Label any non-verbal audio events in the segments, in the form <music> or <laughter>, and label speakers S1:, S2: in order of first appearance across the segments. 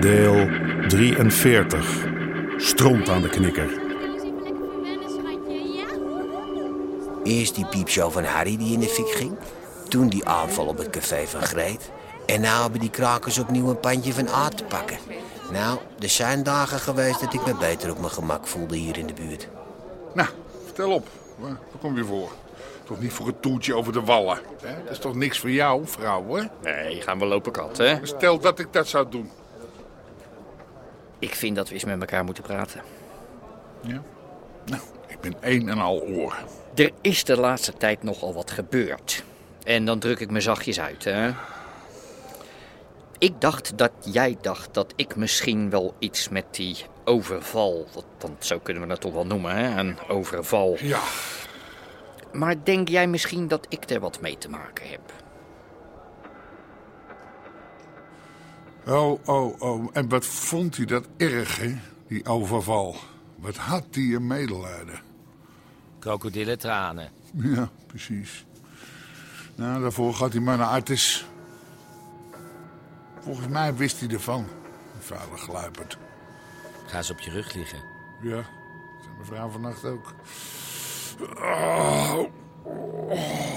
S1: Deel 43. Stront aan de knikker.
S2: Eerst die piepshow van Harry die in de fik ging. Toen die aanval op het café van Greet. En nou hebben die krakers opnieuw een pandje van Aad te pakken. Nou, er zijn dagen geweest dat ik me beter op mijn gemak voelde hier in de buurt.
S3: Nou, vertel op. Waar, waar kom je voor? Toch niet voor het toertje over de wallen? Hè? Dat is toch niks voor jou, vrouw, hè?
S4: Nee, gaan we lopen kat, hè?
S3: Stel dat ik dat zou doen.
S4: Ik vind dat we eens met elkaar moeten praten.
S3: Ja? Nou, ik ben één en al oor.
S4: Er is de laatste tijd nogal wat gebeurd. En dan druk ik me zachtjes uit, hè? Ik dacht dat jij dacht dat ik misschien wel iets met die overval... want- want zo kunnen we dat toch wel noemen, hè? Een overval.
S3: Ja.
S4: Maar denk jij misschien dat ik er wat mee te maken heb?
S3: Oh, oh, oh. En wat vond hij dat erg, hè? Die overval. Wat had hij een medelijden.
S5: Krokodillentranen.
S3: Ja, precies. Nou, daarvoor gaat hij maar naar Artis. Volgens mij wist hij ervan. Een vuile gluiperd.
S5: Ga eens op je rug liggen.
S3: Ja, dat zei mijn vrouw vannacht ook. Oh. Oh.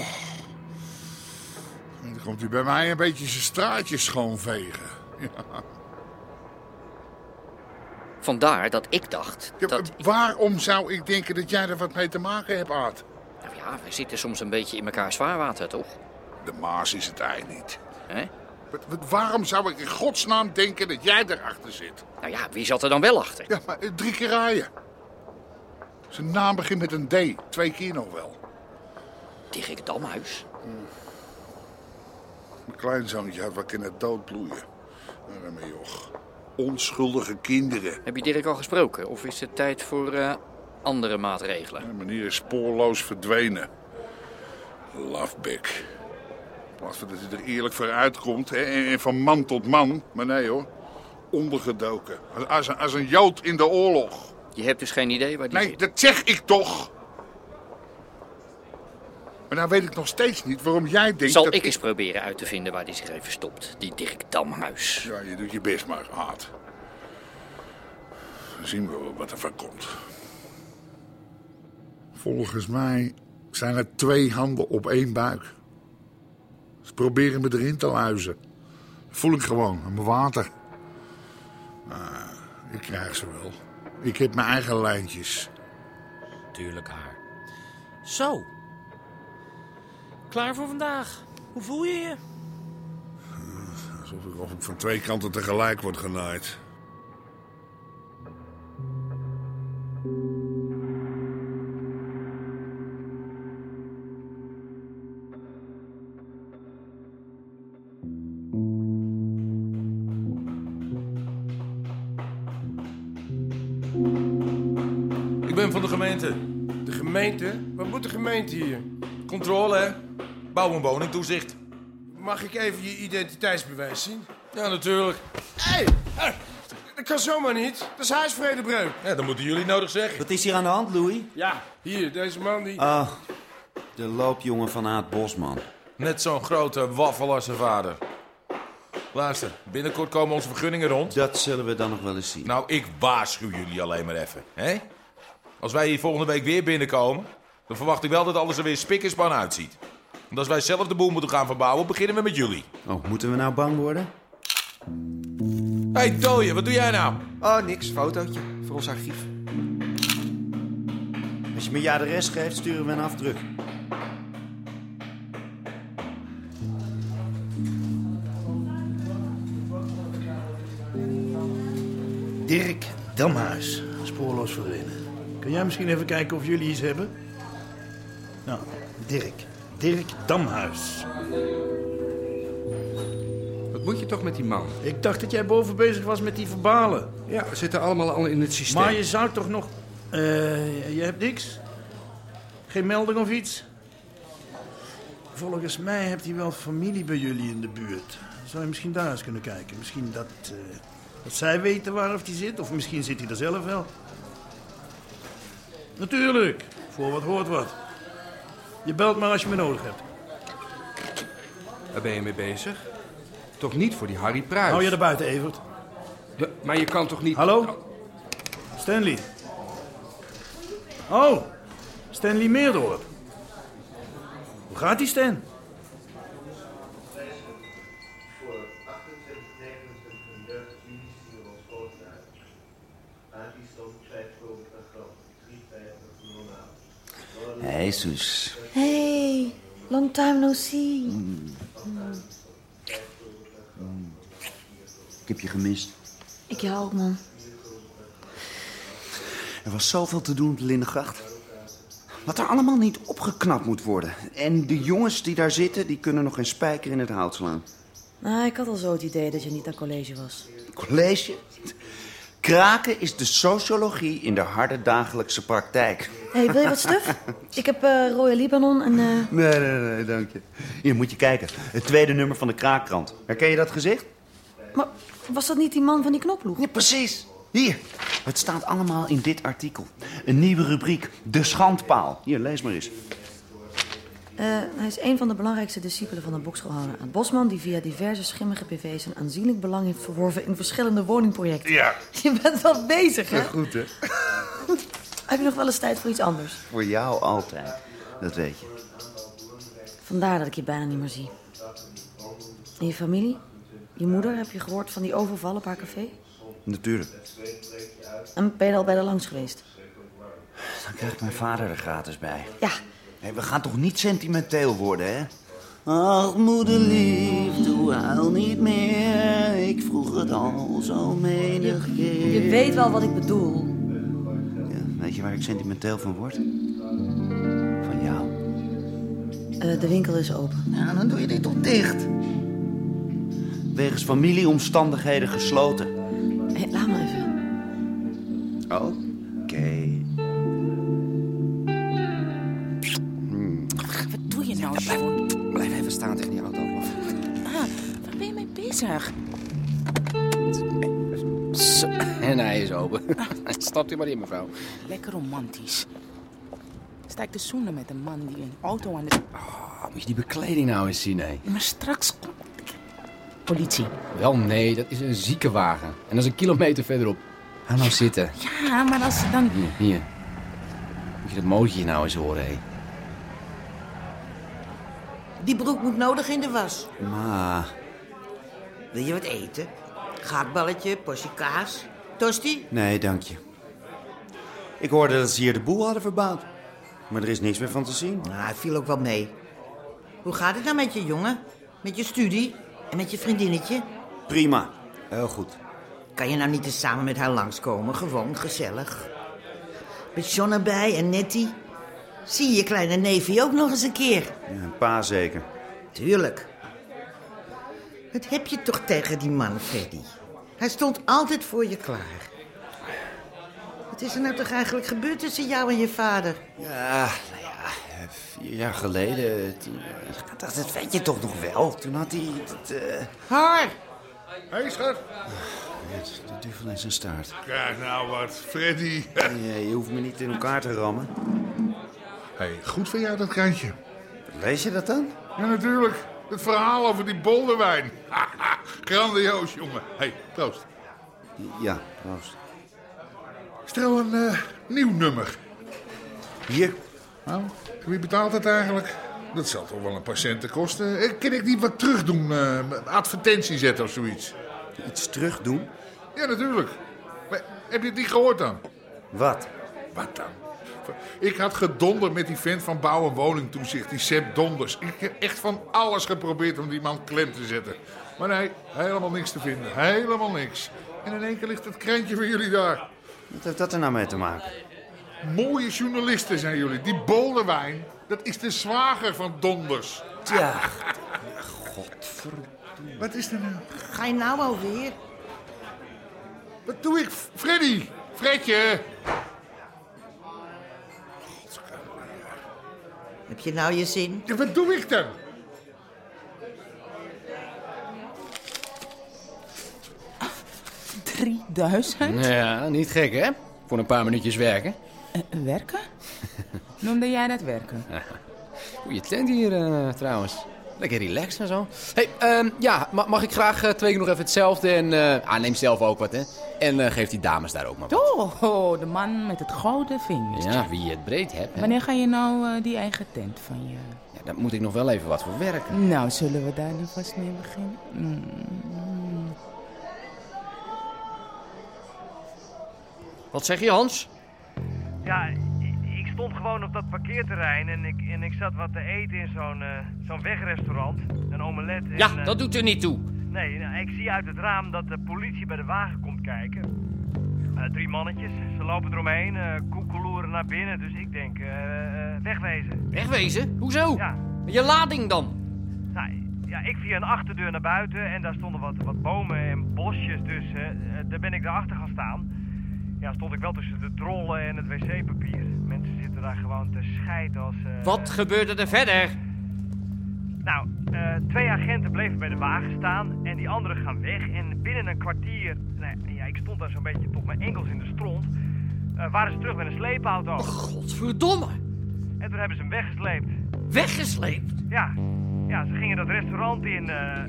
S3: En dan komt hij bij mij een beetje zijn straatjes schoonvegen.
S4: Vandaar dat ik dacht
S3: Ja,
S4: dat...
S3: Waarom zou ik denken dat jij er wat mee te maken hebt, Aad?
S4: Nou ja, we zitten soms een beetje in elkaar zwaarwater, toch?
S3: De Maas is het ei niet.
S4: Hè?
S3: Wat- wat- Waarom zou ik in godsnaam denken dat jij erachter zit?
S4: Nou ja, wie zat er dan wel achter?
S3: Ja, maar eh, drie keer rijden. Zijn naam begint met een D. Twee keer nog wel.
S4: Dirk Damhuis.
S3: Mijn kleinzoontje had wel kunnen doodbloeien. Arme joch. Onschuldige kinderen.
S4: Heb je Dirk al gesproken? Of is het tijd voor eh, andere maatregelen?
S3: De meneer is spoorloos verdwenen. Lafbek. Wat dat hij er eerlijk voor uitkomt. Hè? En en van man tot man. Maar nee hoor. Ondergedoken. Als, als, een- als een jood in de oorlog.
S4: Je hebt dus geen idee waar die
S3: Nee,
S4: zit.
S3: dat zeg ik toch. Maar nou weet ik nog steeds niet waarom jij denkt
S4: Zal
S3: dat...
S4: ik eens proberen uit te vinden waar die zich heeft verstopt? Die Dirk Damhuis.
S3: Ja, je doet je best maar, haat. Dan zien we wel wat er van komt. Volgens mij zijn er twee handen op één buik. Ze proberen me erin te luizen. Dat voel ik gewoon, aan mijn water. Ah, ik krijg ze wel. Ik heb mijn eigen lijntjes.
S5: Tuurlijk haar. Zo. Klaar voor vandaag. Hoe voel je je?
S3: Alsof ik, of ik van twee kanten tegelijk word genaaid.
S6: Ik ben van de gemeente.
S7: De gemeente? Wat moet de gemeente hier?
S6: Controle, hè? Bouw- en woningtoezicht.
S7: Mag ik even je identiteitsbewijs zien?
S6: Ja, natuurlijk.
S7: Hé! Hey! Dat kan zomaar niet. Dat is huisvredebreuk.
S6: Ja, dat moeten jullie nodig zeggen.
S8: Wat is hier aan de hand, Louis?
S7: Ja. Hier, deze man die...
S8: Ah, de loopjongen van Aad Bosman.
S6: Net zo'n grote waffel als zijn vader. Luister, binnenkort komen onze vergunningen rond.
S8: Dat zullen we dan nog wel eens zien.
S6: Nou, ik waarschuw jullie alleen maar even, hè? Als wij hier volgende week weer binnenkomen, dan verwacht ik wel dat alles er weer spik en span uitziet. Want als wij zelf de boel moeten gaan verbouwen, beginnen we met jullie.
S8: Oh, moeten we nou bang worden?
S6: Hé, hey, Tooie, wat doe jij nou?
S9: Oh, niks. Fotootje. Voor ons archief.
S8: Als je me je adres geeft, sturen we een afdruk.
S10: Dirk Damhuis, Ah, spoorloos verdwenen. Kun jij misschien even kijken of jullie iets hebben? Nou, Dirk. Dirk Damhuis.
S9: Wat moet je toch met die man?
S10: Ik dacht dat jij boven bezig was met die verbalen.
S9: Ja, we zitten allemaal al in het systeem.
S10: Maar je zou toch nog... Eh, je hebt niks? Geen melding of iets? Volgens mij hebt hij wel familie bij jullie in de buurt. Zou je misschien daar eens kunnen kijken? Misschien dat, eh, dat zij weten waar of hij zit? Of misschien zit hij er zelf wel? Natuurlijk. Voor wat hoort wat. Je belt maar als je me nodig hebt.
S9: Waar ben je mee bezig? Toch niet voor die Harry Pruis?
S10: Hou je er buiten, Evert.
S9: Ja, maar je kan toch niet...
S10: Hallo? Stanley. Oh, Stanley Meerdorp. Hoe gaat die Stan?
S8: Hey, Soes.
S11: Hey, long time no see.
S8: Ik heb je gemist.
S11: Ik jou ook, man.
S8: Er was zoveel te doen op de Lindengracht. Wat er allemaal niet opgeknapt moet worden. En de jongens die daar zitten, die kunnen nog geen spijker in het hout slaan.
S11: Nou, ik had al zo het idee dat je niet naar college was.
S8: College? Kraken is de sociologie in de harde dagelijkse praktijk.
S11: Hé, hey, wil je wat stuf?
S10: <laughs>
S11: Ik heb eh Royal Libanon en... eh,
S8: Nee, nee, nee, dank je. Hier, moet je kijken. Het tweede nummer van de kraakkrant. Herken je dat gezicht?
S11: Maar was dat niet die man van die knopploeg?
S8: Ja, precies. Hier, het staat allemaal in dit artikel. Een nieuwe rubriek, de schandpaal. Hier, lees maar eens.
S11: Eh, hij is een van de belangrijkste discipelen van de bokschoolhouder aan Bosman... die via diverse schimmige pv's een aanzienlijk belang heeft verworven in verschillende woningprojecten.
S8: Ja.
S11: <laughs> Je bent wel bezig, hè?
S8: Goed, hè?
S11: Heb je nog wel eens tijd voor iets anders?
S8: Voor jou altijd. Dat weet je.
S11: Vandaar dat ik je bijna niet meer zie. En je familie? Je moeder? Heb je gehoord van die overval op haar café?
S8: Natuurlijk.
S11: En ben je er al bij de langs geweest?
S8: Dan krijgt mijn vader er gratis bij.
S11: Ja.
S8: Nee, we gaan toch niet sentimenteel worden, hè? Ach, moederlief, doe huil niet meer. Ik vroeg het al zo menig keer.
S11: Je weet wel wat ik bedoel.
S8: Weet je waar ik sentimenteel van word? Van jou.
S11: Eh, de winkel is open.
S8: Nou, dan doe je dit toch dicht? Wegens familieomstandigheden gesloten.
S11: Hé, laat maar even.
S8: Oké.
S12: Wat doe je nou, John?
S9: Blijf even staan tegen die auto.
S12: Ah, waar ben je mee bezig?
S9: Zo, en hij is open. Stapt u maar in, mevrouw.
S12: Lekker romantisch. Sta ik te zoenen met een man die een auto aan de...
S9: Oh, moet je die bekleding nou eens zien, hè?
S12: Maar straks... Politie.
S13: Wel nee, dat is een ziekenwagen. En dat is een kilometer verderop. Ga nou zitten.
S12: Ja, maar als ze dan...
S13: Hier, hier. Moet je dat motortje nou eens horen, hé.
S7: Die broek moet nodig in de was.
S8: Ma.
S7: Wil je wat eten? Gaakballetje, portie kaas, tosti?
S8: Nee, dank je. Ik hoorde dat ze hier de boel hadden verbouwd. Maar er is niks meer van te zien.
S7: Nou, hij viel ook wel mee. Hoe gaat het nou met je jongen? Met je studie en met je vriendinnetje?
S8: Prima. Heel goed.
S7: Kan je nou niet eens samen met haar langskomen? Gewoon gezellig. Met John erbij en Nettie. Zie je je kleine neefje ook nog eens een keer.
S8: Ja, een pa zeker.
S7: Tuurlijk. Wat heb je toch tegen die man, Freddy? Hij stond altijd voor je klaar. Wat is er nou toch eigenlijk gebeurd tussen jou en je vader?
S8: Ja, nou ja, vier jaar geleden. Toen, eh, dat, dat weet je toch nog wel? Toen had hij. Dat, eh,
S7: Hoi!
S3: Hé, hey, schat.
S8: het- de duvel in zijn staart.
S3: Kijk nou wat, Freddy.
S8: Ja, je hoeft me niet in elkaar te rammen.
S3: Hé, goed van jou dat krantje.
S8: Lees je dat dan?
S3: Ja, natuurlijk. Het verhaal over die bolderwijn. Haha, Grandioos, jongen. Hé, hey, proost.
S8: Ja, proost.
S3: Stel een eh, nieuw nummer.
S8: Hier.
S3: Nou, wie betaalt het eigenlijk? Dat zal toch wel een paar centen kosten. Eh, Kan ik niet wat terugdoen? eh, een advertentie zetten of zoiets?
S8: Iets terugdoen?
S3: Ja, natuurlijk. Maar heb je het niet gehoord dan?
S8: Wat?
S3: Wat dan? Ik had gedonder met die vent van bouw- en woningtoezicht, die Sepp Donders. Ik heb echt van alles geprobeerd om die man klem te zetten. Maar nee, helemaal niks te vinden. Helemaal niks. En in één keer ligt het krentje van jullie daar.
S8: Wat heeft dat er nou mee te maken?
S3: Mooie journalisten zijn jullie. Die Boldewijn, dat is de zwager van Donders.
S7: Tja.
S3: Godverdomme. Wat is er nou?
S7: Ga je nou alweer?
S3: Wat doe ik? Freddy! Fredje!
S7: Heb je nou je zin?
S3: wat doe ik dan?
S12: Drieduizend?
S13: Ja, niet gek hè? Voor een paar minuutjes werken.
S12: Eh, werken? Noemde jij dat werken?
S13: Goeie tent hier eh, trouwens. Lekker relaxed en zo. hey, ehm, ja, ma- mag ik graag eh, twee keer nog even hetzelfde en... eh, ah, neem zelf ook wat hè. En eh, geef die dames daar ook maar wat.
S12: Oh, oh, de man met het gouden vingertje.
S13: Ja, wie het breed hebt. hè.
S12: Wanneer ga je nou eh, die eigen tent van je?
S13: Ja, daar moet ik nog wel even wat voor werken.
S12: Nou, zullen we daar nu vast mee beginnen? Mm.
S4: <laughs> Wat zeg je, Hans?
S6: Ja, i- ik stond gewoon op dat parkeerterrein en ik, en ik zat wat te eten in zo'n eh, zo'n wegrestaurant. Een omelet. En,
S4: Ja,
S6: eh,
S4: dat doet er niet toe.
S6: Nee, nou, ik zie uit het raam dat de politie bij de wagen komt kijken. Eh, drie mannetjes, ze lopen eromheen, eh koekeloeren naar binnen. Dus ik denk, eh, eh, wegwezen.
S4: Wegwezen? Hoezo?
S6: Ja.
S4: Je lading dan?
S6: Nou, ja, ik via een achterdeur naar buiten en daar stonden wat, wat bomen en bosjes. Dus eh, eh, daar ben ik daarachter gaan staan. Ja, stond ik wel tussen de trollen en het wc-papier. Mensen zitten daar gewoon te scheid als... eh,
S4: Wat gebeurde er verder?
S6: Nou, eh, twee agenten bleven bij de wagen staan en die anderen gaan weg. En binnen een kwartier, nou ja, ik stond daar zo'n beetje tot mijn enkels in de stront, eh, waren ze terug met een sleepauto.
S4: godverdomme!
S6: En toen hebben ze hem weggesleept.
S4: Weggesleept?
S6: Ja, ja ze gingen dat restaurant in eh,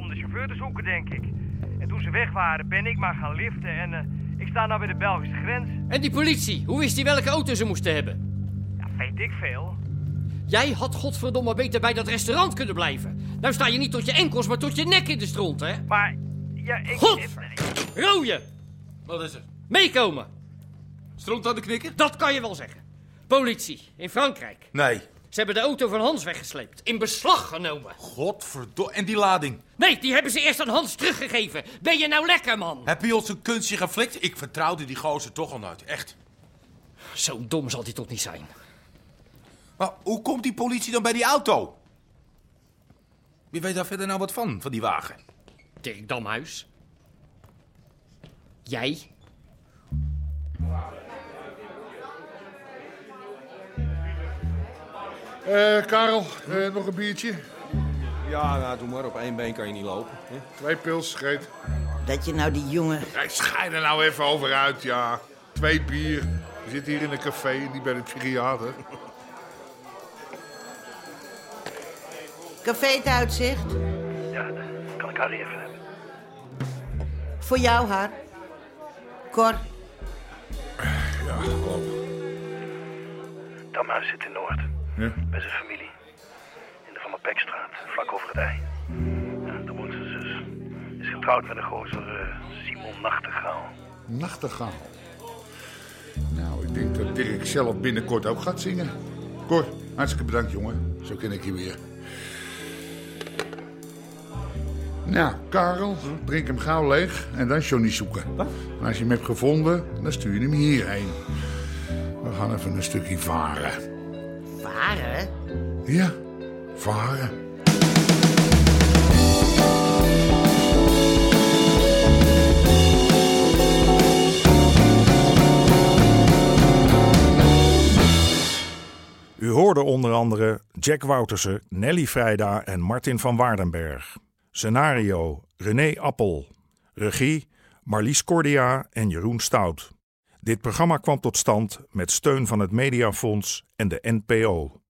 S6: om de chauffeur te zoeken, denk ik. En toen ze weg waren, ben ik maar gaan liften en eh, ik sta nou bij de Belgische grens.
S4: En die politie, hoe wist die welke auto ze moesten hebben?
S6: Ja, weet ik veel.
S4: Jij had godverdomme beter bij dat restaurant kunnen blijven. Nou sta je niet tot je enkels, maar tot je nek in de stront, hè?
S6: Maar, ja, ik...
S4: God! Rooie!
S14: Wat is er?
S4: Meekomen!
S14: Stront aan de knikker?
S4: Dat kan je wel zeggen. Politie, in Frankrijk.
S14: Nee.
S4: Ze hebben de auto van Hans weggesleept. In beslag genomen.
S14: Godverdomme. En die lading?
S4: Nee, die hebben ze eerst aan Hans teruggegeven. Ben je nou lekker, man?
S14: Heb je ons een kunstje geflikt? Ik vertrouwde die gozer toch al nooit, echt.
S4: Zo dom zal die toch niet zijn.
S14: Maar hoe komt die politie dan bij die auto? Wie weet daar verder nou wat van, van die wagen?
S4: Dirk Damhuis. Jij?
S3: Eh, Karel, eh, nog een biertje?
S15: Ja, nou, doe maar. Op één been kan je niet lopen. Hè?
S3: Twee pils, scheet.
S7: Dat je nou die jongen...
S3: Hey, schijn er nou even over uit, ja. Twee bier. We zitten hier in een café, niet bij de psychiater.
S7: Café het uitzicht.
S6: Ja, kan ik Harry even hebben?
S7: Voor jou, haar. Cor.
S3: Ja, klopt.
S6: Damhuis zit in Noord,
S3: Ja.
S6: bij zijn familie. In de Van der Pekstraat, vlak over het ei. Ja, daar woont zijn zus. Is getrouwd met een gozer, eh, Simon Nachtegaal.
S3: Nachtegaal. Nou, ik denk dat Dirk zelf binnenkort ook gaat zingen. Cor, hartstikke bedankt, jongen. Zo ken ik je weer. Nou, Karel, drink hem gauw leeg en dan Johnny zoeken. En als je hem hebt gevonden, dan stuur je hem hierheen. We gaan even een stukje varen.
S7: Varen?
S3: Ja, varen.
S1: U hoorde onder andere Jack Woutersen, Nelly Vrijda en Martin van Waardenberg. Scenario René Appel. Regie Marlies Cordia en Jeroen Stout. Dit programma kwam tot stand met steun van het Mediafonds en de NPO.